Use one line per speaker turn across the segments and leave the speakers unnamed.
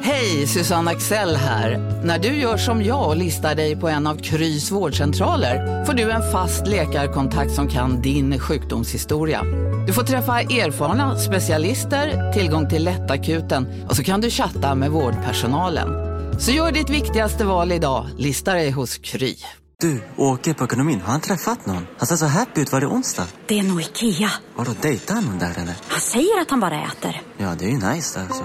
Hej, Susanne Axel här. När du gör som jag och listar dig på en av Krys vårdcentraler får du en fast läkarkontakt som kan din sjukdomshistoria. Du får träffa erfarna specialister, tillgång till lättakuten och så kan du chatta med vårdpersonalen. Så gör ditt viktigaste val idag, listar dig hos Kry.
Du, åker på ekonomin. Har han träffat någon? Han ser så happy ut. Var det onsdag?
Det är nog Ikea.
Har du dejtat någon där eller?
Han säger att han bara äter.
Ja, det är ju nice där alltså.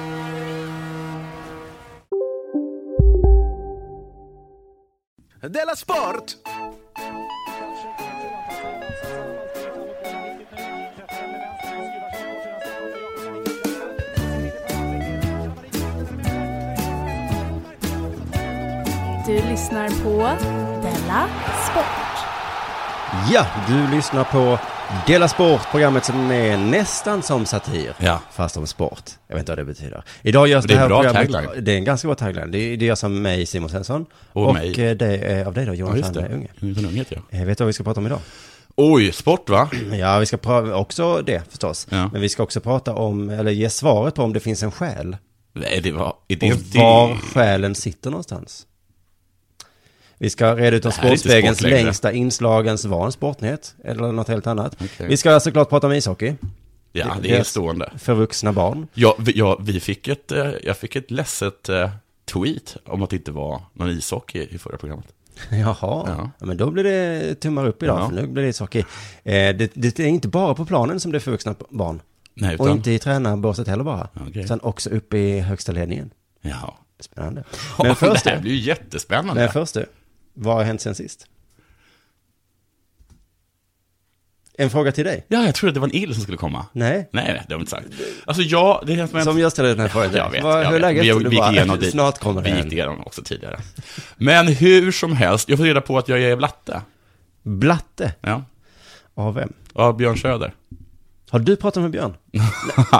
Della Sport!
Du lyssnar på Della Sport.
Ja, du lyssnar på Dela Sport, programmet som är nästan som satir,
Ja.
fast om sport. Jag vet inte vad det betyder. Idag görs
Det
det,
är
här
bra
programmet...
tagline.
Det är en ganska bra tagline. Det, det görs av mig, Simon Svensson.
Och
och
mig.
eh, det är av dig då, Jonas Sandberg Unge.
Jonathan Unge heter jag.
Eh, Vet du vad vi ska prata om idag?
Oj, sport va?
Ja, vi ska prata också det förstås.
Ja.
Men vi ska också prata om, eller ge svaret på om det finns en själ.
Nej, det var... Är det
Och
inte...
var själen sitter någonstans. Vi ska reda ut om
här är inte
Sportspegelns
sport längre.
längsta inslagens var en sportnyhet eller något helt annat. Vi ska såklart prata om ishockey.
Ja, det är
Dels
stående.
För vuxna barn.
Ja, vi, ja, vi fick ett, eh, jag fick ett ledset eh, tweet om att det inte var någon ishockey i förra programmet.
Jaha,
Ja.
ja. men då blir det tummar upp idag,
Ja.
för nu blir det ishockey. Eh, det, det är inte bara på planen som det är för vuxna barn.
Nej,
Och inte i tränarbåset heller bara.
Okej.
Utan också uppe i högsta ledningen.
Jaha.
Spännande.
Men
Men först
det här
du,
blir ju jättespännande.
men först du, vad har hänt sen sist? En fråga till dig.
Ja, jag trodde att det var en ill som skulle komma.
Nej.
Nej, nej, det har vi inte sagt. Alltså, ja, det är som,
Som jag ställde den här frågan.
Jag vet,
Vad-
jag
hur är
vet.
läget?
Vi,
Du
vi gick
bara,
igenom det.
snart kommer
Vi
den.
gick igenom också tidigare. Men hur som helst, jag får reda på att jag är blatte.
Blatte,
Ja,
av vem?
av Björn Söder.
Har du pratat med Björn?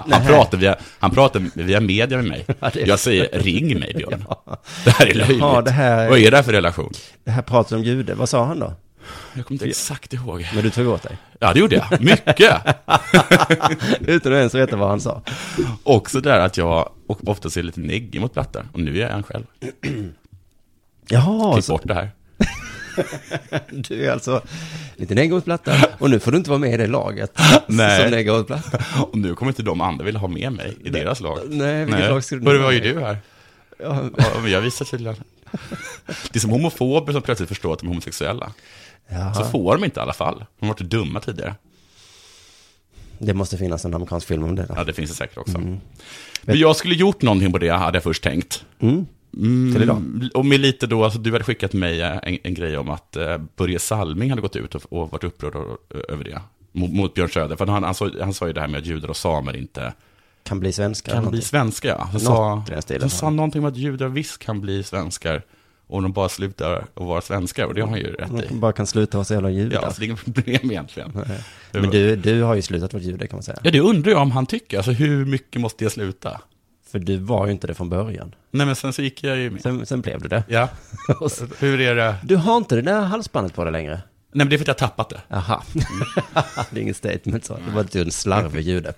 Han pratar, via, han pratar via media med mig.
det är-
Jag säger ring mig Björn. Det här är löjligt.
Ja, det här är-
Vad är det här för relation?
Det här pratet om jude, vad sa han då?
Jag kommer inte exakt ihåg.
Men du tog åt dig.
Ja, det gjorde jag. Mycket.
Utan att ens veta vad han sa.
Också där att jag och- oftast är lite neggig mot plattor. Och nu är jag en själv.
Jaha,
Klipp
så
bort det här.
du är alltså lite negg mot platta. Och nu får du inte vara med i det laget
Nej.
som negg mot platta.
Och nu kommer inte de andra vilja ha med mig i deras lag.
Nej, vilket lag skulle du
Hörru,
vara
var ju
med i?
du här? Ja, men jag visar tydligen. Det är som homofober som plötsligt förstår att de är homosexuella. Så får de inte i alla fall. De har varit dumma tidigare.
Det måste finnas en amerikansk film om det. Då.
Ja, det finns det säkert också. Men jag skulle gjort någonting på det, hade jag först tänkt. Mm,
Till idag.
Och med lite då, alltså, du hade skickat mig eh, en, en grej om att eh, Börje Salming hade gått ut och, och varit upprörd o- över det. Mot, mot Björn Söder, för han, han, sa, han sa ju det här med att judar och samer inte
Kan bli svenska.
kan
eller
bli
någonting.
svenskar. ja. Han sa,
Något i den stilen.
han sa någonting om att judar visst kan bli svenskar om de bara slutar att vara svenskar, och det har han ju rätt i.
Man bara kan sluta vara så jävla jude.
Ja, så det är inget problem egentligen.
Men du, du har ju slutat vara jude kan man säga.
Ja, det undrar jag om han tycker, alltså hur mycket måste jag sluta?
För du var ju inte det från början.
Nej, men sen så gick jag ju med.
Sen, sen blev du det.
Ja, hur är det?
Du har inte det där halsbandet på dig längre.
Nej, men det är för att jag har tappat det.
Aha. det är inget statement så. Det var du en slarvig jude.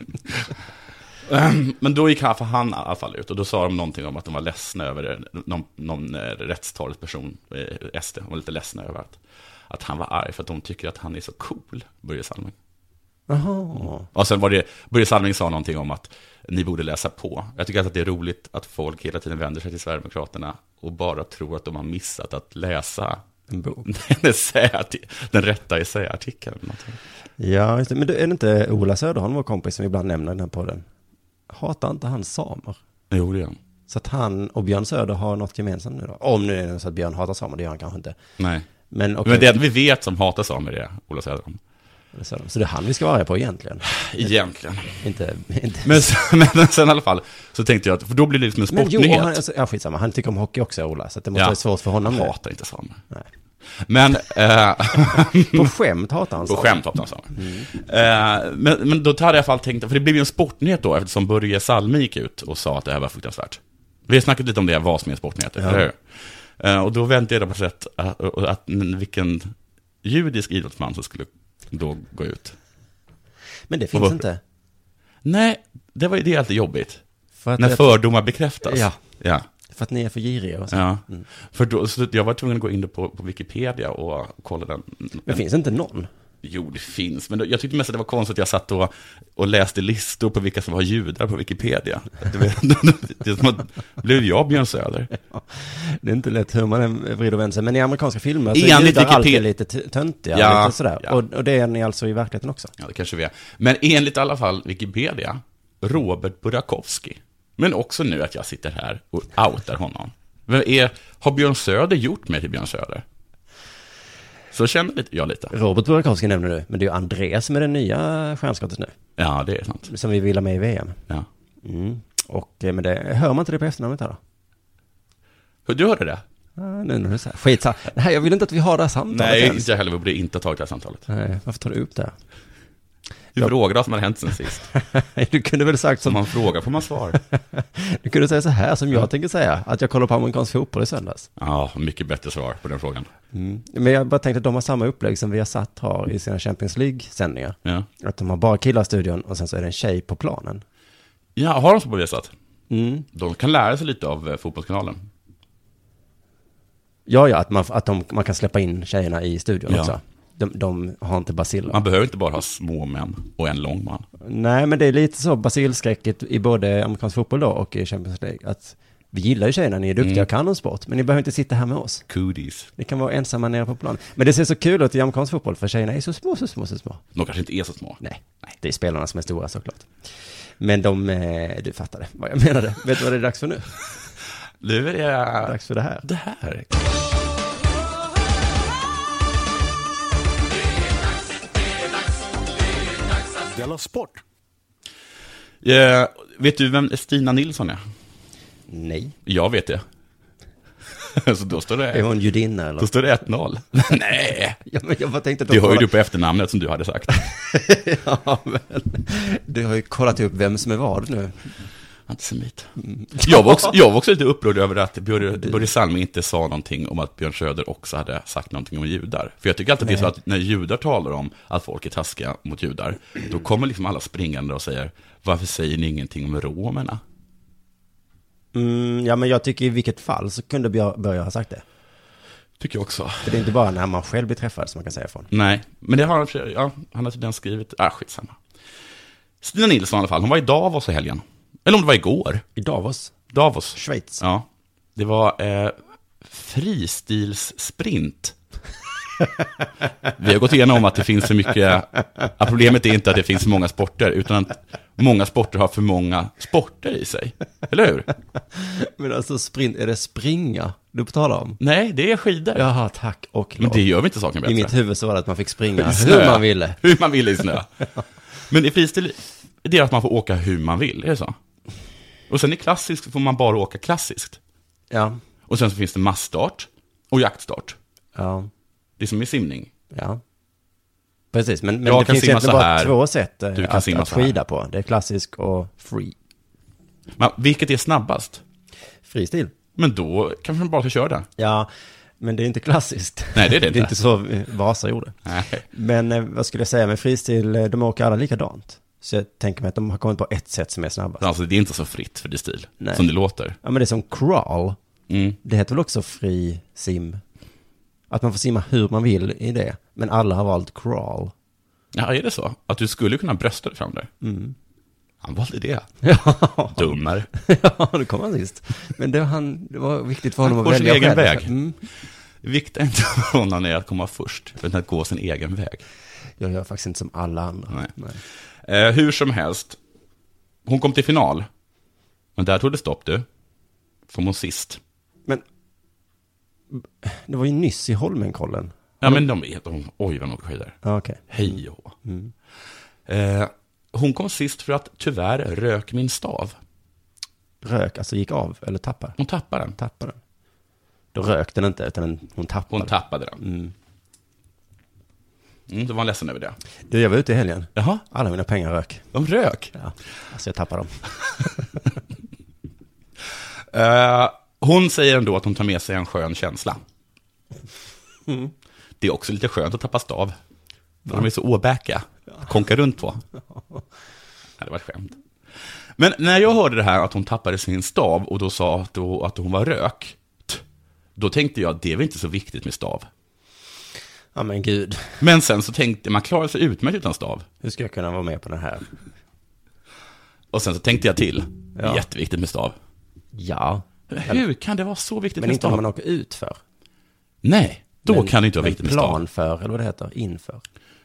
Men då gick han, för han i alla fall ut och då sa de någonting om att de var ledsna över det. någon, någon eh, rättstalesperson, eh, SD, de var lite ledsna över att, att han var arg för att de tycker att han är så cool, Börje Salming.
Jaha.
Och sen var det, Börje Salming sa någonting om att ni borde läsa på. Jag tycker att det är roligt att folk hela tiden vänder sig till Sverigedemokraterna och bara tror att de har missat att läsa
En bok.
den, essäarti- den rätta essäartikeln. eller någonting.
Ja, just det. Men du, är det inte Ola Söderholm, vår kompis, som vi ibland nämner i den här podden? Hatar inte han samer?
Jo, det gör han.
Så att han och Björn Söder har något gemensamt nu då? Om nu är det så att Björn hatar samer, det gör han kanske inte.
Nej.
Men okej.
Men det vi vet som hatar samer är Ola Söderholm.
Eller Så så det är han vi ska vara arga på egentligen.
Egentligen.
Inte... inte.
Men sen, men sen i alla fall, så tänkte jag att, för då blir det liksom en
Men jo,
sportnyhet.
han, alltså, ja, skitsamma. Han tycker om hockey också, Ola. Så att det måste
Ja.
vara svårt för honom
Jag
nu.
hatar inte samer.
Nej. Alltså.
Men, eh,
På skämt hatar han
på
sig.
skämt hoppade han
Mm.
eh, men, men då hade jag i alla fall tänkt, för det blev ju en sportnyhet då, eftersom Börje Salmi gick ut och sa att det här var fruktansvärt. Vi har snackat lite om det, vad som är sportnyheter, eller hur? Eh, och då väntade jag på sätt att, att, att vilken judisk idrottsman som skulle då gå ut.
Men det
Och
finns
vad-
inte.
Nej, det var ju det är alltid jobbigt.
För att,
När
jag-
fördomar bekräftas.
Ja.
ja.
för att ni är för giriga och så.
Ja, Mm. för då, så jag var tvungen att gå in på, på Wikipedia och kolla den.
Men finns inte någon?
Jo, det finns, men då, jag tyckte mest att det var konstigt att jag satt och, och läste listor på vilka som var judar på Wikipedia. Det, var- det är som att, blev jag Björn Söder?
Det är inte lätt hur man än vrider och vänder sig. Men i amerikanska filmer så är
Enligt
judar
Wikipedia-
alltid lite t- töntiga.
Ja,
lite sådär.
ja.
Och, och det är ni alltså i verkligheten också.
Ja, det kanske vi är. Men enligt i alla fall Wikipedia, Robert Burakovsky. Men också nu att jag sitter här och outar honom. Vem är, har Björn Söder gjort mig till Björn Söder? Så känner lite- jag lite.
Robert Burakovsky nämner du, men det är ju Andreas som är den nya stjärnskottet nu.
Ja, det är sant.
Som vi vill ha med i VM.
Ja.
Mm. Och, eh, men det, hör man inte det på efternamnet här då?
Hur du hörde det?
Ah, nu när du säger skitsa. Nej, jag vill inte att vi har det här samtalet
Nej,
ens.
inte jag heller. Vi borde inte ha tagit det här samtalet.
Nej, varför tar du upp det?
Du frågade vad som hade hänt sen sist.
här? Du kunde väl sagt
Som
som,
man frågar får man svar.
du kunde säga så här som jag tänker säga, att jag kollar på amerikansk fotboll i söndags.
Ja, mycket bättre svar på den frågan.
Men jag bara tänkte att de har samma upplägg som vi har satt har i sina Champions League-sändningar.
Ja,
Att de har bara killar i studion och sen så är det en tjej på planen.
ja har de så på det sättet?
Mm.
De kan lära sig lite av eh, Fotbollskanalen.
Ja, ja, att, man, att de, man kan släppa in tjejerna i studion
Ja.
också. De, de har inte baciller.
Man behöver inte bara ha små män och en lång man.
Nej, men det är lite så basilskräckigt i både amerikansk fotboll då och i Champions League. Att vi gillar ju tjejerna, ni är duktiga och kan om sport, men ni behöver inte sitta här med oss.
Cooties.
Ni kan vara ensamma nere på plan. Men det ser så kul ut i amerikansk fotboll, för tjejerna är så små, så små, så små.
De kanske inte är så små.
Nej, det är spelarna som är stora såklart. Men de, eh, du fattade vad jag menade. Vet du vad det är dags för nu?
Nu är det...
Dags för det här.
Det här.
Della Sport!
Eh, vet du vem Stina Nilsson är?
Nej.
Jag vet det. så då står
Är
det,
hon judinna
då
eller?
står det 1-0. Nej,
Ja, men jag bara tänkte att de
det hör ju
kollar-
du på efternamnet som du hade sagt.
ja, men, du har ju kollat upp vem som är vad nu.
Antisemit. Jag var också, jag var också lite upprörd över att Börje, Börje Salming inte sa någonting om att Björn Söder också hade sagt någonting om judar. För jag tycker alltid att det är så att när judar talar om att folk är taskiga mot judar, då kommer liksom alla springande och säger, varför säger ni ingenting om romerna?
Mm, ja, men jag tycker i vilket fall så kunde Björ- Börje ha sagt det.
Tycker jag också.
För det är inte bara när man själv blir träffad som man kan säga ifrån.
Nej, men det har han, för- ja, han har tydligen skrivit, ah skitsamma. Stina Nilsson i alla fall, hon var i Davos i helgen. Eller om det var igår.
I Davos,
Davos.
Schweiz.
Ja, det var eh, fristilssprint. Vi har gått igenom att det finns för mycket, att problemet är inte att det finns för många sporter, utan att många sporter har för många sporter i sig. Eller hur?
Men alltså sprint, är det springa du talar om?
Nej, det är skidor.
Jaha, tack och
Men
lov.
det gör väl inte saken bättre?
I mitt huvud så var det att man fick springa
I snö.
hur man ville.
Hur man ville i snö. Men i fristil, det är att man får åka hur man vill, är det så? Och sen i klassiskt får man bara åka klassiskt.
Ja,
Och sen så finns det massstart och jaktstart.
ja,
Det är som i simning.
ja. Precis, men, men
Jag
det
kan
finns
simma
egentligen
så
bara
här.
två sätt eh,
Du kan
att,
simma
att
så här.
skida på. Det är klassisk och free.
Men vilket är snabbast?
Freestil.
Men då kanske man bara ska köra den.
Ja, men det är inte klassiskt.
Nej, det är det
Det är
inte.
inte så eh, Vasa gjorde.
Nej.
Men eh, vad skulle jag säga med fristil, eh, de åker alla likadant. Så jag tänker mig att de har kommit på ett sätt som är snabbast.
Alltså det är inte så fritt för det stil,
Nej.
som det låter.
Ja, men det är som crawl.
Mm.
Det heter väl också fri sim? Att man får simma hur man vill i det. Men alla har valt crawl.
Ja, är det så? Att du skulle kunna brösta dig fram där? Han valde det.
Mm. Ja,
Dummer.
ja då kom han sist. Men det var, han, det var viktigt för honom
Han
att
går sin
välja
egen
själv.
väg.
Mm,
Viktigt inte för honom är att komma först, utan att gå sin egen väg.
jag gör faktiskt inte som alla andra.
Nej.
Nej.
Eh, hur som helst, hon kom till final. Men där tog det stopp du. Kom hon sist.
Men det var ju nyss i Holmenkollen.
Ja, men de är... De, oj, vad de åker skidor.
Ja, okej.
Hej och hå.
Mm.
Eh, hon kom sist för att tyvärr rök min stav.
Rök, alltså gick av eller tappade.
Hon tappade den.
Tappade den. Då rök den inte, utan den, hon tappade.
Hon tappade den. Mm. då var hon ledsen över det.
Du, jag var ute i helgen.
Jaha,
Alla mina pengar rök.
de rök.
Ja, alltså jag tappade dem.
Eh, hon säger ändå att hon tar med sig en skön känsla. Det är också lite skönt att tappa stav. För de är så åbäka. Konka runt på. Ja, det var ett skämt. Men när jag hörde det här att hon tappade sin stav och då sa att, då, att hon var rök. t- Då tänkte jag att det är väl inte så viktigt med stav.
Ja, men gud.
Men sen så tänkte man klarar sig utmärkt utan stav.
Hur ska jag kunna vara med på den här?
Och sen så tänkte jag till. Det är
Ja.
jätteviktigt med stav.
Ja.
Hur kan det vara så viktigt
Men
med
inte om
stav?
man åker ut för.
Nej, då
Men-
kan det inte vara
men
viktigt med stav.
plan för, eller vad det heter, inför.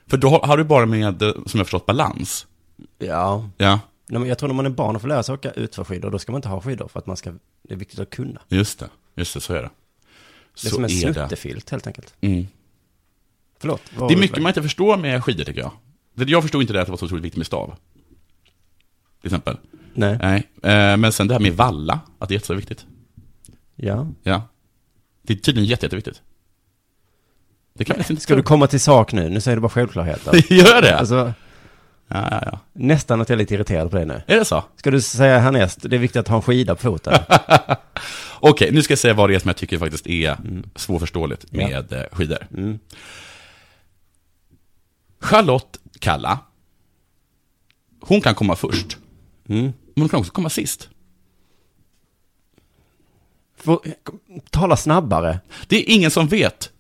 För då har- har du bara med, eh, som jag förstått, balans.
Ja.
Ja,
Nej, men Jag tror när man är barn och får lära sig åka ut för skidor, då ska man inte ha skidor för att man ska, det är viktigt att kunna.
just det. Just det, så är
Det
det.
är
Så
som en
är det.
snuttefilt helt enkelt.
Mm.
Förlåt.
Det är mycket man inte förstår med skidor, tycker jag. Det- Jag förstod inte det att det var så otroligt viktigt med stav. Till exempel.
Nej.
Nej. Eh, Men sen det här med valla, att det är jätteviktigt.
Ja.
Ja. Det är tydligen jätte, jätteviktigt. Det kan man inte
Ska du komma till sak nu? Nu säger du bara självklarheter.
Gör det?
Alltså,
Ja, ja, ja.
nästan att jag är lite irriterad på dig nu.
Är det så?
Ska du säga härnäst, det är viktigt att ha en skida på foten.
Okej, nu ska jag säga vad det är som jag tycker faktiskt är svårförståeligt
Mm. Ja. Mm.
med eh, skidor. Charlotte Kalla, hon kan komma först,
Mm.
men hon kan också komma sist.
Får, tala snabbare.
Det är ingen som vet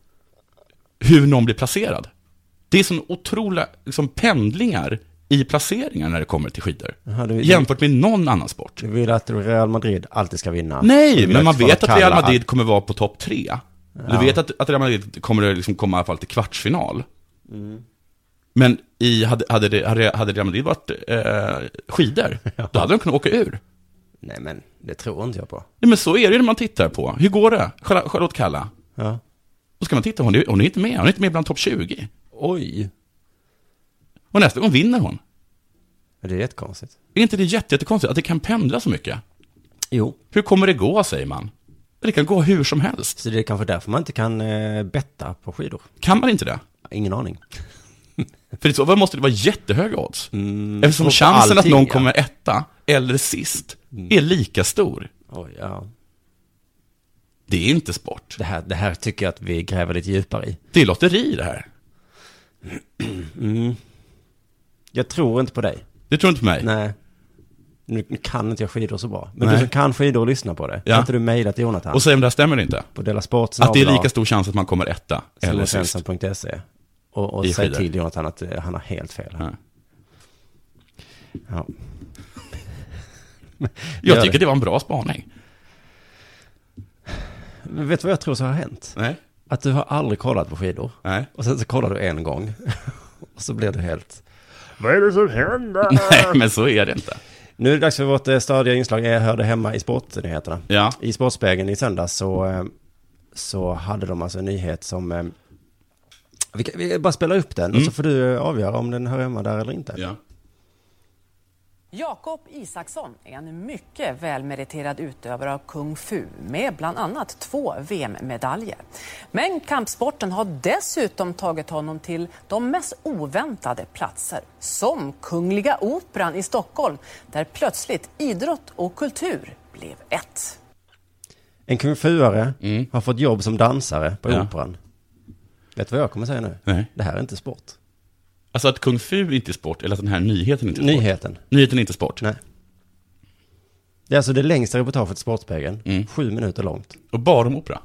hur någon blir placerad. Det är sån otroliga liksom, pendlingar i placeringar när det kommer till skidor.
Jaha, du-
Jämfört med någon annan sport.
Du vill att Real Madrid alltid ska vinna. Du
Nej,
vill
men man
Kalla
vet att Real
all-
Madrid kommer vara på topp tre. Du vet att, att Real Madrid kommer att liksom komma i alla fall till kvartsfinal. Men i, hade, hade, det, hade hade Real Madrid varit eh, skidor, då hade de kunnat åka ur.
Nej, men det tror inte jag på.
Nej, men så är det ju när man tittar på. Hur går det? Charl- Charlotte Kalla.
Ja.
Då ska man titta, hon är, hon är inte med. Hon är inte med bland topp 20.
Oj.
Och nästa gång vinner hon.
Det är jättekonstigt.
Är inte det jätte- jättekonstigt att det kan pendla så mycket?
Jo.
Hur kommer det gå, säger man? Det kan gå hur som helst.
Så det är kanske därför man inte kan eh, betta på skidor.
Kan man inte det?
Ingen aning.
För i så fall måste det vara jättehöga odds. Eftersom
Mm, Och
chansen
allting,
att någon
ja. Mm.
kommer etta eller sist är lika stor.
Oj, ja.
Det är inte sport.
Det här, det här tycker jag att vi gräver lite djupare i.
Det är lotteri det här.
Jag tror inte på dig.
Det tror inte på mig.
Nej. Nu nu kan inte jag skidor så bra. Men
Nej.
du som kan skidor och lyssnar på det.
Ja.
Kan inte du mejla till Jonathan?
Och säg om det här stämmer eller inte.
på Della Sport
Att det är lika stor chans att man kommer etta eller sist.
Svensson.se. Och, och
I
säg
skidor.
till Jonathan att eh, han har helt fel. här.
Ja.
Ja.
Jag
Gör
tycker
det.
det var en bra spaning.
Men vet du vad jag tror som har hänt?
Nej.
Att du har aldrig kollat på skidor.
Nej.
Och sen så kollar du en gång. och så blir du helt...
Nej, men så är det inte.
Nu är det dags för vårt eh, stadiga inslag. Jag hörde hemma i sportnyheterna.
Ja.
I Sportspegeln i söndags så, eh, så hade de alltså en nyhet som... eh, Vi, kan, vi bara spelar upp den och så får du eh, avgöra om den hör hemma där eller inte.
Mm. ja.
Jakob Isaksson är en mycket välmeriterad utövare av kung fu med bland annat två VM-medaljer. Men kampsporten har dessutom tagit honom till de mest oväntade platser som Kungliga Operan i Stockholm där plötsligt idrott och kultur blev ett.
En kung fuare har fått jobb som dansare på
Mm. Ja.
operan. Vet du vad jag kommer säga nu?
Nej.
Det här är inte sport.
Alltså att kung fu inte är sport, eller att den här nyheten inte är sport.
Nyheten.
Nyheten är inte sport.
Nej. Det är alltså det längsta reportaget i Sportspegeln.
Mm.
Sju minuter långt.
Och bara om opera.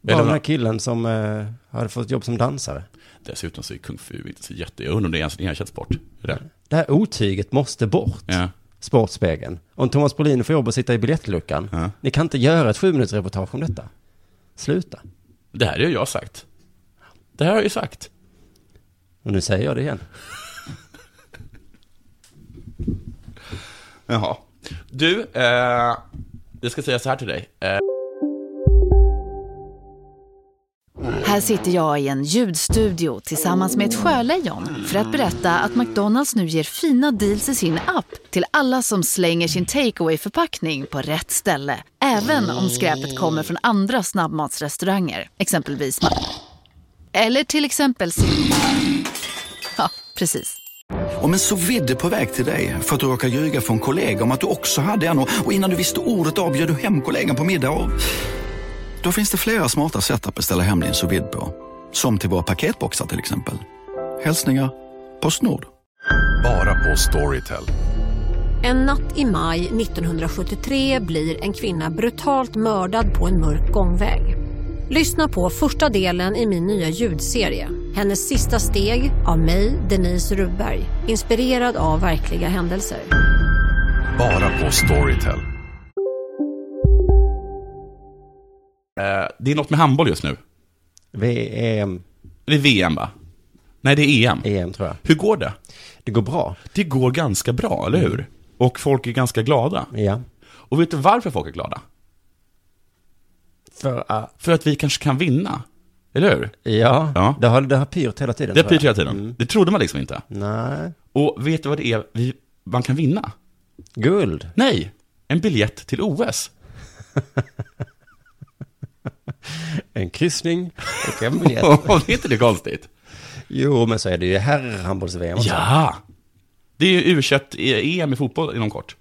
Bara
Eller
den här
vad-
killen som eh, hade fått jobb som dansare.
Dessutom så är kung fu inte så jätte... Jag undrar om det är ens en erkänd sport. Det där.
Det här otyget måste bort.
Ja.
Sportspegeln. Om Thomas Brolin får jobb och sitta i biljettluckan.
Ja.
Ni kan inte göra ett sju minuters reportage om detta. Sluta.
Det här har ju jag sagt. Det här har jag ju sagt.
Och nu säger jag det igen.
Jaha. Du, eh, jag ska säga så här till dig. Eh,
Här sitter jag i en ljudstudio tillsammans med ett sjölejon för att berätta att McDonalds nu ger fina deals i sin app till alla som slänger sin takeaway förpackning på rätt ställe. Även om skräpet kommer från andra snabbmatsrestauranger, exempelvis Ma- Eller till exempel Sil- Ja, precis.
Om en så vidde på väg till dig för att du råkar ljuga från kollega om att du också hade en och och innan du visste ordet av bjöd du hem kollegan på middag och... Då finns det flera smarta sätt att beställa hem din sous vide på. Som till våra paketboxar till exempel. Hälsningar Postnord.
Bara på Storytel.
En natt i maj 1973 blir en kvinna brutalt mördad på en mörk gångväg. Lyssna på första delen i min nya ljudserie. Hennes sista steg av mig, Denise Rubberg. Inspirerad av verkliga händelser.
Bara på Storytel.
Eh, Det är något med handboll just nu.
VM.
Det är VM va? Nej, det är EM.
EM E tror jag.
Hur går det?
Det går bra.
Det går ganska bra, eller hur? Och folk är ganska glada.
Ja.
Och vet du varför folk är glada?
För att...
För att vi kanske kan vinna. Eller hur?
Ja, det har, det har pyrt hela tiden.
Det har
tror jag.
pyrt hela tiden.
Mm.
Det trodde man liksom inte.
Nej.
Och vet du vad det är vi, man kan vinna?
Guld?
Nej, en biljett till OS.
En kryssning och en biljett.
det är inte det konstigt?
Jo, men så är det ju herrhandbolls-VM också.
Ja! Det är ju u em i fotboll inom kort.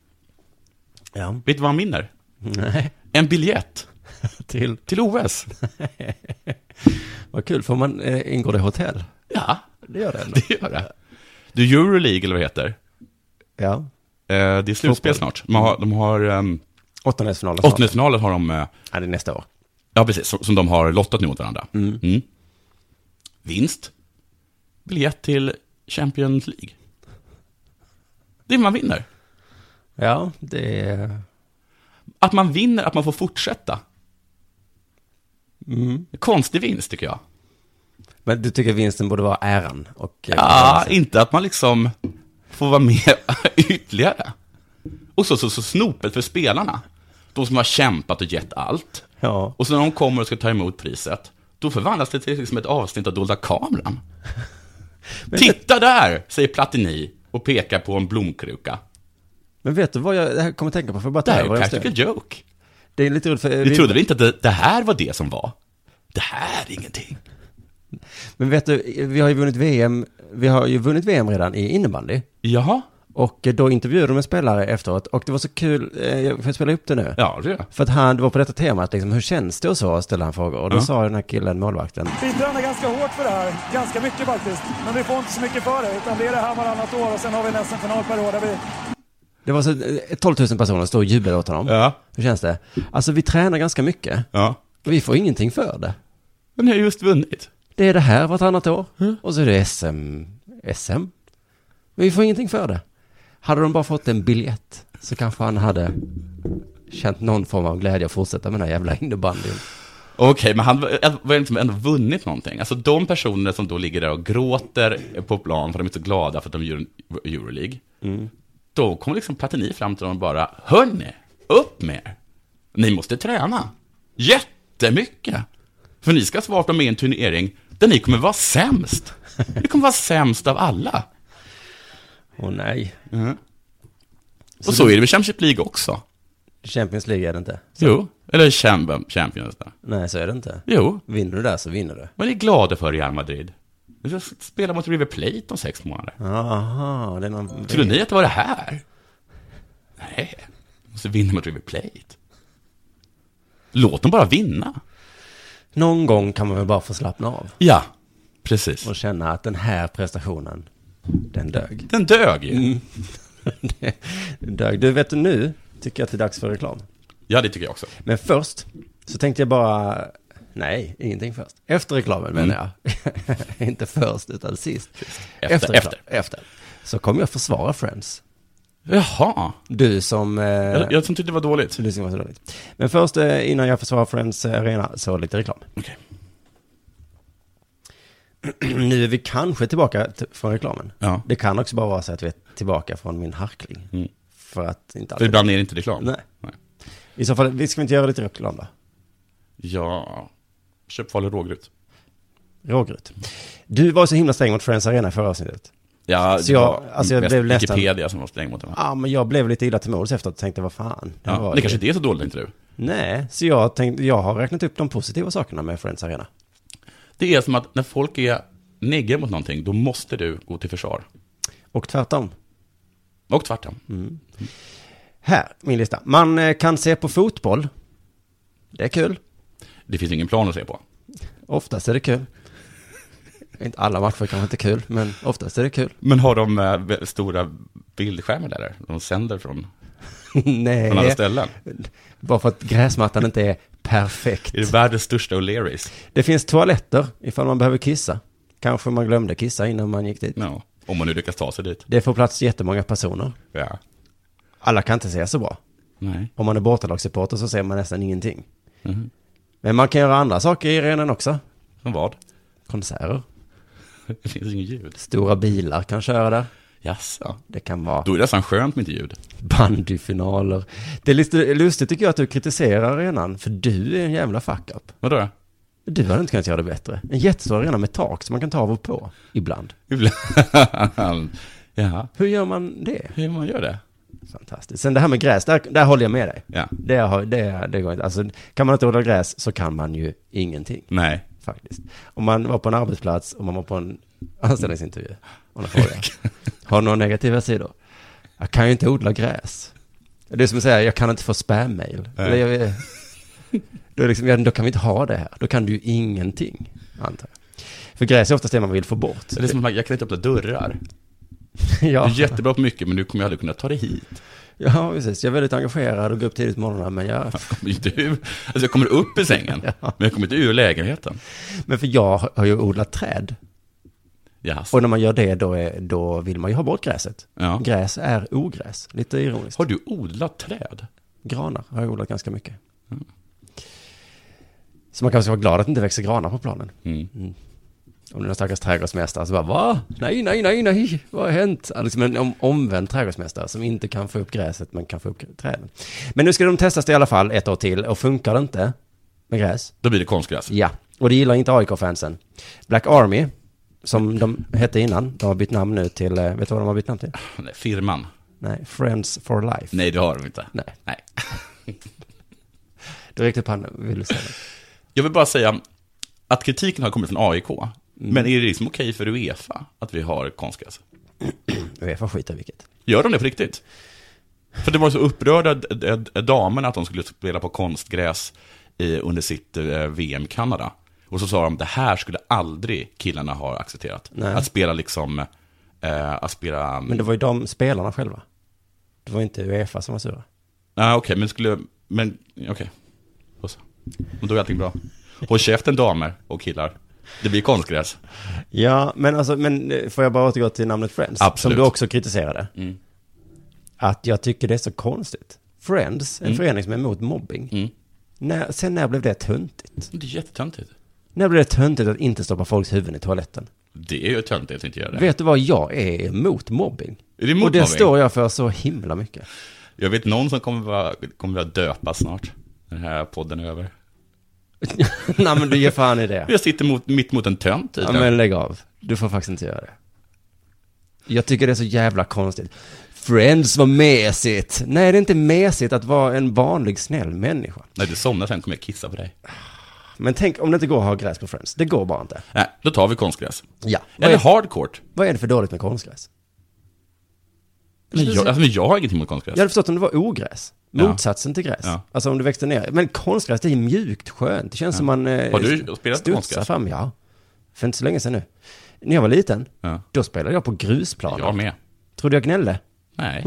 Ja.
Vet du vad han vinner?
Nej.
En biljett.
till?
Till OS.
Vad kul, får man eh, ingå det i hotell?
Ja,
det gör det ändå.
Det gör det. Du, Euroleague eller vad det heter?
Ja.
Eh, det är slutspel snart. De har... De har ehm,
Åttondelsfinalen snart.
Åttondelsfinalen har de... Eh,
ja, det är nästa år.
Ja, precis. Som, som de har lottat nu mot varandra.
Mm.
Vinst. Biljett till Champions League. Det är man vinner.
Ja, det är...
Att man vinner, att man får fortsätta. Mm. Konstig vinst, tycker jag.
Men du tycker vinsten borde vara äran? Och, eh,
Ja, inte att man liksom får vara med ytterligare. Och så, så, så snopet för spelarna. De som har kämpat och gett allt.
Ja.
Och så när de kommer och ska ta emot priset, då förvandlas det till liksom ett avsnitt av Dolda kameran. Titta där, säger Platini och pekar på en blomkruka.
Men vet du vad jag det här kommer att tänka på? För bara
Det här är
över
ju
en
practical
stund.
joke.
Det är lite roligt för...
Vi trodde väl inte att det, det här var det som var. Det här är ingenting.
Men vet du, vi har ju vunnit VM, vi har ju vunnit VM redan i innebandy.
Jaha.
Och eh, då intervjuade de en spelare efteråt och det var så kul, eh, jag får spela upp det nu?
Ja, det gör jag.
För att han, det var på detta temat liksom, hur känns det och så, ställde han frågor. Och då
Ja.
sa den här killen, målvakten,
Vi tränar ganska hårt för det här, ganska mycket faktiskt. Men vi får inte så mycket för det, utan det är det här varannat år och sen har vi en SM-final per år där vi
Det var så, eh, 12 000 personer står och jublar åt honom.
Ja.
Hur känns det? Alltså vi tränar ganska mycket.
Ja.
Och vi får ingenting för det.
Men ni har just vunnit.
Det är det här vartannat år. Och så är det SM. SM? Men vi får ingenting för det. Hade de bara fått en biljett så kanske han hade känt någon form av glädje att fortsätta med den här jävla innebandyn.
Okej, men han var- var liksom ändå vunnit någonting. Alltså de personer som då ligger där och gråter på plan för att de är så glada för att de gör en Euroleague. Då kommer liksom Platini fram till dem och bara, hörni, upp med er. Ni måste träna. Jättemycket. För ni ska svarta med i en turnering där ni kommer vara sämst. Ni kommer vara sämst av alla.
Åh nej.
Och så är det med Champions League också.
Champions League är det inte.
Jo, eller Champions, Champions där.
Nej, så är det inte.
Jo.
Vinner du där så vinner du.
Vad är ni glada för i Real Madrid? Ni ska spela mot River Plate om sex månader.
Aha, det är någon...
Trodde ni att det var det här? Nej, måste vinna mot River Plate. Låt dem bara vinna.
Någon gång kan man väl bara få slappna av.
Ja, precis.
Och känna att den här prestationen, den dög.
Den dög ju.
Den dög. Du, vet du nu tycker jag att det är dags för reklam.
Ja, det tycker jag också.
Men först så tänkte jag bara, nej, ingenting först. Efter reklamen menar jag. Inte först, utan sist.
Efter,
reklam-
efter.
efter. Så kommer jag försvara Friends.
Jaha.
Du som... Eh,
Jag, jag som tyckte det var dåligt.
Du som var så dåligt. Men först, eh, innan jag försvarar Friends eh, Arena, så lite reklam.
Okej.
nu är vi kanske tillbaka t- från reklamen.
Ja.
Det kan också bara vara så att vi är tillbaka från min harkling.
Mm.
För att inte
För
alltid...
ibland är det inte reklam.
Nej. I så fall, vi ska vi inte göra lite reklam då?
Ja, köp farlig rågryt.
Rågryt. Du var ju så himla sträng mot Friends Arena i förra avsnittet.
Ja,
så jag, alltså jag
mest
blev nästan...
Wikipedia som var sträng mot honom.
Ja, men jag blev lite illa till mods efteråt och tänkte, vad fan.
Ja,
var
det kanske inte är så dåligt, inte du?
Nej, så jag tänkte, jag har räknat upp de positiva sakerna med Friends Arena.
Det är som att när folk är negga mot någonting, då måste du gå till försvar.
Och tvärtom.
Och tvärtom.
Här, min lista. Man eh, kan se på fotboll. Det är kul.
Det finns ingen plan att se på.
Oftast är det kul. Inte alla matcher kanske inte är kul, men oftast är det kul.
Men har de eh, stora bildskärmar där? De sänder från,
Nej.
från alla ställen?
Bara för att gräsmattan inte är perfekt.
Är det världens största O'Learys?
Det finns toaletter ifall man behöver kissa. Kanske man glömde kissa innan man gick dit.
Ja, om man nu lyckas ta sig dit.
Det får plats jättemånga personer.
Ja.
Alla kan inte se så bra.
Nej.
Om man är bortalagssupporter så ser man nästan ingenting.
Mhm.
Men man kan göra andra saker i arenan också.
Som vad?
Konserter.
Det finns inget ljud.
Stora bilar kan köra där.
Jaså?
Det kan vara
Då är det nästan skönt med inte ljud.
bandyfinaler. Det är lite lustigt tycker jag att du kritiserar arenan, för du är en jävla fuck-up.
Vadå?
Du hade inte kunnat göra det bättre. En jättestor arena med tak som man kan ta av och på, ibland.
Ibland. Jaha.
Hur gör man det?
Hur man gör det?
Fantastiskt. Sen det här med gräs, där, där håller jag med dig.
Ja.
Det, har, det, det går inte. Alltså, kan man inte odla gräs så kan man ju ingenting.
Nej.
Faktiskt. Om man var på en arbetsplats och man var på en anställningsintervju. Och någon frågar, har du några negativa sidor? Jag kan ju inte odla gräs. Det är som att säga, jag kan inte få spam-mail.
Nej.
Eller jag- Då, är det liksom, ja, då kan vi inte ha det här. Då kan du ju ingenting, antar jag. För gräs är oftast det man vill få bort.
Det är som att man- jag kan inte öppna dörrar.
Ja.
Du är jättebra på mycket, men nu kommer jag aldrig kunna ta dig hit.
Ja, precis. Jag är väldigt engagerad och går upp tidigt på morgnarna, men jag...
Men Du, alltså jag kommer upp i sängen, men jag kommer inte ur lägenheten.
Men för jag har ju odlat träd.
Jaså.
Och när man gör det, då, är, då vill man ju ha bort gräset.
Ja.
Gräs är ogräs, lite ironiskt.
Har du odlat träd?
Granar har jag odlat ganska mycket.
Mm.
Så man kanske ska vara glad att det inte växer granar på planen.
Mm.
Om det är någon stackars trädgårdsmästare så bara va? Nej, nej, nej, nej, vad har hänt? Ja, Liksom en om, omvänd trädgårdsmästare som inte kan få upp gräset men kan få upp träden. Men nu ska de testas det i alla fall ett år till och funkar det inte med gräs,
Då blir det konstgräs.
Ja, och det gillar inte AIK-fansen. Black Army, som de hette innan, de har bytt namn nu till, eh, vet du vad de har bytt namn till?
Nej, firman?
Nej, Friends for Life.
Nej, det har de inte.
Nej.
Nej.
Du räckte upp handen, vill du säga det?
Jag vill bara säga att kritiken har kommit från AIK.
Mm.
Men är det liksom okej för Uefa att vi har konstgräs?
Uefa skiter i vilket.
Gör de det på riktigt? För det var så upprörda d- d- damerna att de skulle spela på konstgräs i, under sitt eh, VM Kanada. Och så sa de, det här skulle aldrig killarna ha accepterat.
Nej.
Att spela liksom, eh, att spela...
Men det var ju de spelarna själva. Det var inte Uefa som var sura.
Nej, Ah, okej, men skulle... Men, okej. Då så. Men då är allting bra. Håll käften damer och killar. Det blir konstgräs.
Ja, men alltså, men eh, får jag bara återgå till namnet Friends?
Absolut.
Som du också kritiserade.
Mm.
Att jag tycker det är så konstigt. Friends, en
Mm.
förening som är emot mobbing.
Mm.
När, sen när blev det töntigt?
Det är jättetöntigt.
När blev det töntigt att inte stoppa folks huvuden i toaletten?
Det är ju töntigt att inte göra det.
Vet du vad, jag är emot mobbing.
Är du emot
Och det
mobbing?
står jag för så himla mycket.
Jag vet någon som kommer vara, kommer vara döpa snart. Den här podden är över.
Nej men du ger fan i det.
Jag sitter mot, mitt mot en tönt. typ.
Ja, men lägg av. Du får faktiskt inte göra det. Jag tycker det är så jävla konstigt. Friends var mesigt. Nej, det är inte mesigt att vara en vanlig snäll människa.
När du somnar sen kommer jag kissa på dig.
Men tänk om det inte går att ha gräs på Friends. Det går bara inte.
Nej, då tar vi konstgräs.
Ja. Vad
Eller
är,
hardcourt.
vad är det för dåligt med konstgräs?
Men jag, alltså, men jag har ingenting mot konstgräs.
Jag hade förstått om det var ogräs.
Ja.
Motsatsen till gräs.
Ja.
Alltså om du växte ner. Men konstgräs, det är mjukt, skönt. Det känns som man... Eh,
Har du spelat på
studsar
konstgräs?
fram, ja. För inte så länge sedan nu. När jag var liten,
Ja.
då spelade jag på grusplaner.
Jag med.
Tror du jag gnällde?
Nej.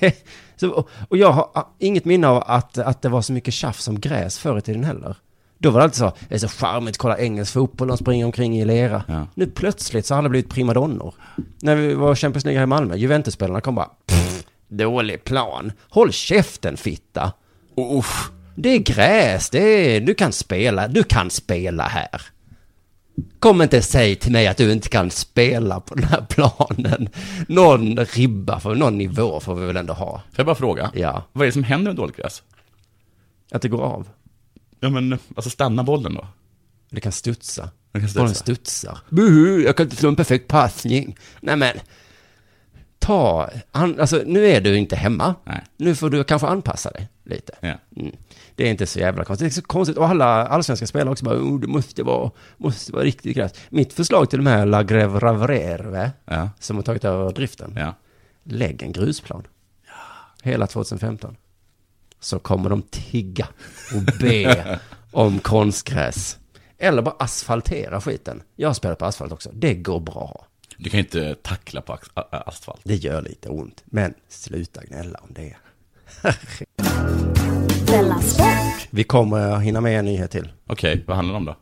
Nej. Så, och- och jag har ah, inget minne av att, att det var så mycket tjafs om gräs förr i tiden heller. Då var det alltid så, det är så charmigt, kolla engelsk fotboll, de springer omkring i lera.
Ja.
Nu plötsligt så har alla blivit primadonnor. När vi var Champions League här i Malmö, Juventus-spelarna kom bara, "Pff, dålig plan, håll käften fitta.
Uff.
Det är gräs, det är, du kan spela, du kan spela här. Kom inte säg till mig att du inte kan spela på den här planen. Någon ribba, för, någon nivå får vi väl ändå ha.
Får jag bara fråga?
Ja.
Vad är det som händer med dåligt gräs?
Att det går av.
Ja, men alltså stanna bollen då.
Det kan studsa.
kan studsa.
Bollen studsar. Buhu, jag kan inte slå en perfekt passning. Nej men, ta, an, alltså nu är du inte hemma. Nu får du kanske anpassa dig lite.
Ja.
Mm. Det är inte så jävla konstigt. Det är så konstigt. Och alla allsvenska spelare också bara, oh, det måste vara, måste vara riktigt gräs. Mitt förslag till de här La Greve Ravrerve, som har tagit över driften. Lägg en grusplan. Hela 2015. Så kommer de tigga och be om konstgräs. Eller bara asfaltera skiten. Jag spelar på asfalt också. Det går bra.
Du kan ju inte tackla på ax- a- a- asfalt.
Det gör lite ont. Men sluta gnälla om det. Vi kommer hinna med en nyhet till.
Okej, vad handlar det om då?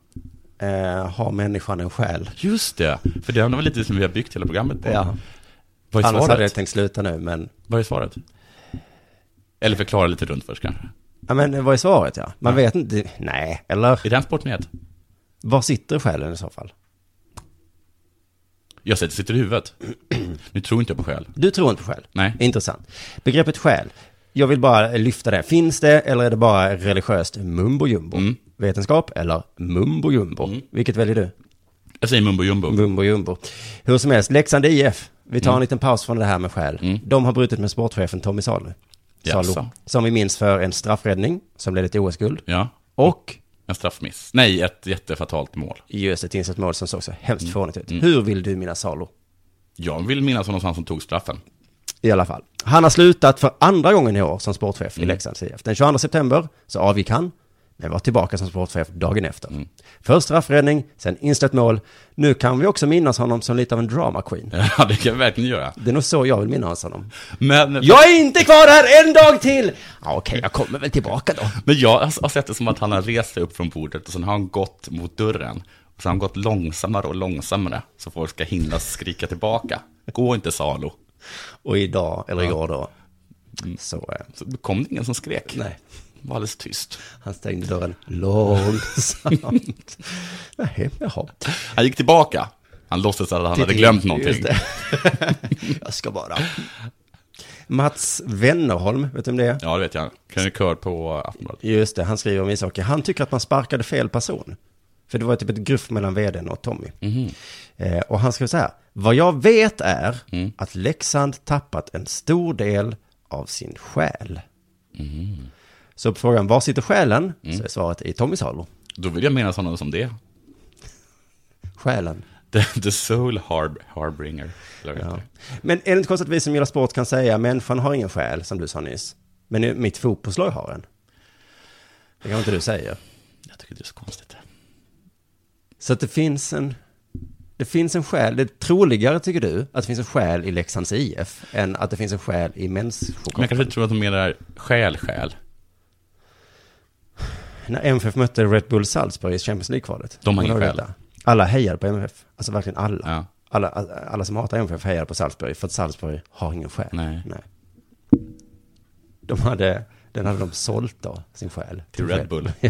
Eh, har människan en själ?
Just det, för det var lite som vi har byggt hela programmet på.
Ja.
Vad är
Annars
svaret?
hade jag tänkt sluta nu, men...
Vad är svaret? Eller förklara lite runt först kanske.
Ja, men vad är svaret ja? Man vet inte. Nej, eller?
Är det en sportnyhet?
Var sitter själen i så fall?
Jag säger att det sitter i huvudet. Nu tror inte jag på själ.
Du tror inte på själ?
Nej.
Intressant. Begreppet själ, jag vill bara lyfta det. Finns det eller är det bara religiöst mumbo jumbo?
Mm.
Vetenskap eller mumbo jumbo? Vilket väljer du?
Jag säger mumbo jumbo.
Mumbo jumbo. Hur som helst, Leksand IF. Vi
Mm.
tar en liten paus från det här med själ. De har brutit med sportchefen Tommy Salo.
Jaså.
Salo. Som vi minns för en straffräddning som ledde till OS-guld.
Ja.
Och?
En straffmiss. Nej, ett jättefatalt mål.
Just ett insett mål som såg så hemskt
Mm.
fånigt ut.
Mm.
Hur vill du minnas Salo?
Jag vill minnas honom som han som tog straffen.
I alla fall. Han har slutat för andra gången i år som sportchef i Leksands IF. Den 22 september så avgick han, men var tillbaka som sportchef dagen efter. Först straffräddning, sen inställt mål. Nu kan vi också minnas honom som lite av en drama queen.
Ja, det kan jag verkligen göra.
Det är nog så jag vill minnas honom.
Men...
Jag är inte kvar här en dag till! Ja, okej, jag kommer väl tillbaka då.
Men jag har sett det som att han har rest sig upp från bordet och sen har han gått mot dörren. Och sen har han gått långsammare och långsammare, så folk ska hinna skrika tillbaka. Gå inte Salo.
Och idag, eller igår då, så... eh,
Så kom det ingen som skrek.
Nej.
Det var alldeles tyst.
Han stängde dörren långsamt. Nej, jaha.
Han gick tillbaka. Han låtsades att han hade
Titti,
glömt
just
någonting.
det. jag ska bara... Mats Wennerholm, vet du vem det är?
Ja, det vet jag. Krönikör på Aftonbladet.
Just det, han skriver om ishockey. Han tycker att man sparkade fel person. För det var typ ett gruff mellan vdn och Tommy. Eh, och han skrev så här. Vad jag vet är att Leksand tappat en stor del av sin själ. Så på frågan var sitter själen? Så är svaret i Tommy Salo.
Då vill jag minnas honom som det.
Själen.
The, the soul harb, harbringer. eller vad det heter.
Men är det inte konstigt att vi som gillar sport kan säga människan har ingen själ, som du sa nyss. Men nu, mitt fotbollslag har en. Det kan inte du säga.
Jag tycker det är så konstigt.
Så att det finns en... Det finns en själ, det är troligare tycker du, att det finns en själ i Leksands IF än att det finns en själ i
Men
mänskokroppen.
jag kanske tror att de menar själ, själ.
När MFF mötte Red Bull Salzburg i Champions League-kvalet.
De har ingen
Kommer du ihåg
själ.
detta? Alla hejade på MFF, alltså verkligen alla. Alla, alla. alla som hatar MFF hejade på Salzburg, för att Salzburg har ingen själ.
Nej.
De hade, den hade de sålt då, sin själ.
Till Red Bull.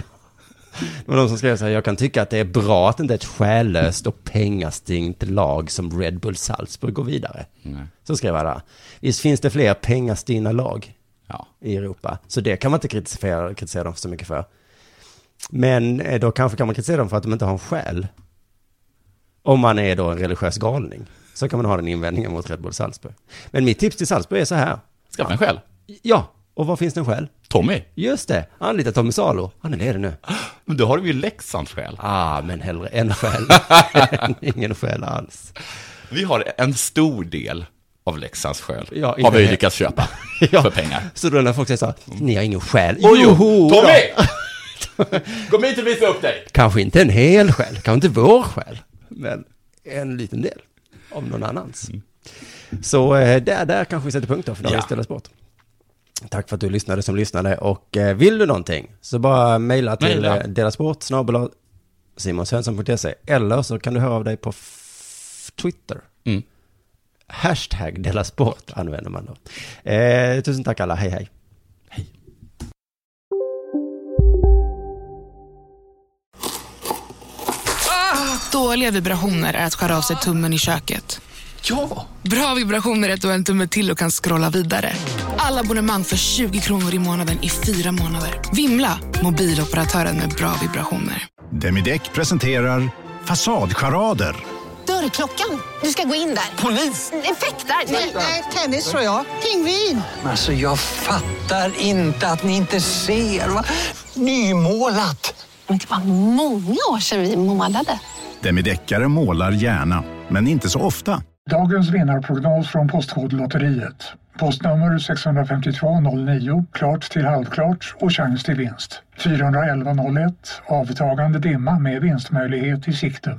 Ja. Det var de som skrev så här, jag kan tycka att det är bra att det inte är ett själlöst och pengastinkt lag som Red Bull Salzburg går vidare.
Nej.
Så skrev alla. Visst finns det fler pengastinna lag i Europa, så det kan man inte kritisera, kritisera dem så mycket för. Men eh, då kanske kan man kritisera dem för att de inte har en själ. Om man är då en religiös galning, så kan man ha den invändningen mot Red Bull Salzburg. Men mitt tips till Salzburg är så här.
Skaffa en själ.
Ja, och var finns den själ?
Tommy.
Just det, anlita Tommy Salo. Han är ledig nu.
Men då har de ju Leksands själ.
Ah, men hellre en själ än ingen själ alls.
Vi har en stor del av Leksands själ.
Ja,
har
inte
vi
helt.
lyckats köpa för pengar.
Så då när folk säger så här, ni har ingen själ.
Oj, jo,
Joho, då.
Tommy! Kom hit och visa upp dig.
Kanske inte en hel själ, kanske inte vår själ, men en liten del av någon annans. Så eh, där, där kanske vi sätter punkt då för dagens
Mm. Ja.
Ställas bort. Tack för att du lyssnade som lyssnade och eh, vill du någonting så bara mejla till
Mejla.
eh, delasport snabel-a simonsvensson.se eller så kan du höra av dig på f- Twitter.
Mm.
Hashtag delasport använder man då. Eh, tusen tack alla, hej hej.
Dåliga vibrationer är att skära av sig tummen i köket. Ja! Bra vibrationer är att du har en tumme till och kan scrolla vidare. Alla abonnemang för 20 kronor i månaden i fyra månader. Vimla! Mobiloperatören med bra vibrationer.
Demideck presenterar
Fasadcharader.
Dörrklockan. Du ska gå in där. Polis? Effektar? Nej, tennis tror jag. Pingvin.
Alltså jag fattar inte att ni inte ser. Va? Nymålat.
Men det var många år sedan vi målade.
Demideckare målar gärna, men inte så ofta.
Dagens vinnarprognos från Postkodlotteriet. Postnummer 65209, klart till halvklart och chans till vinst. 41101, avtagande dimma med vinstmöjlighet i sikte.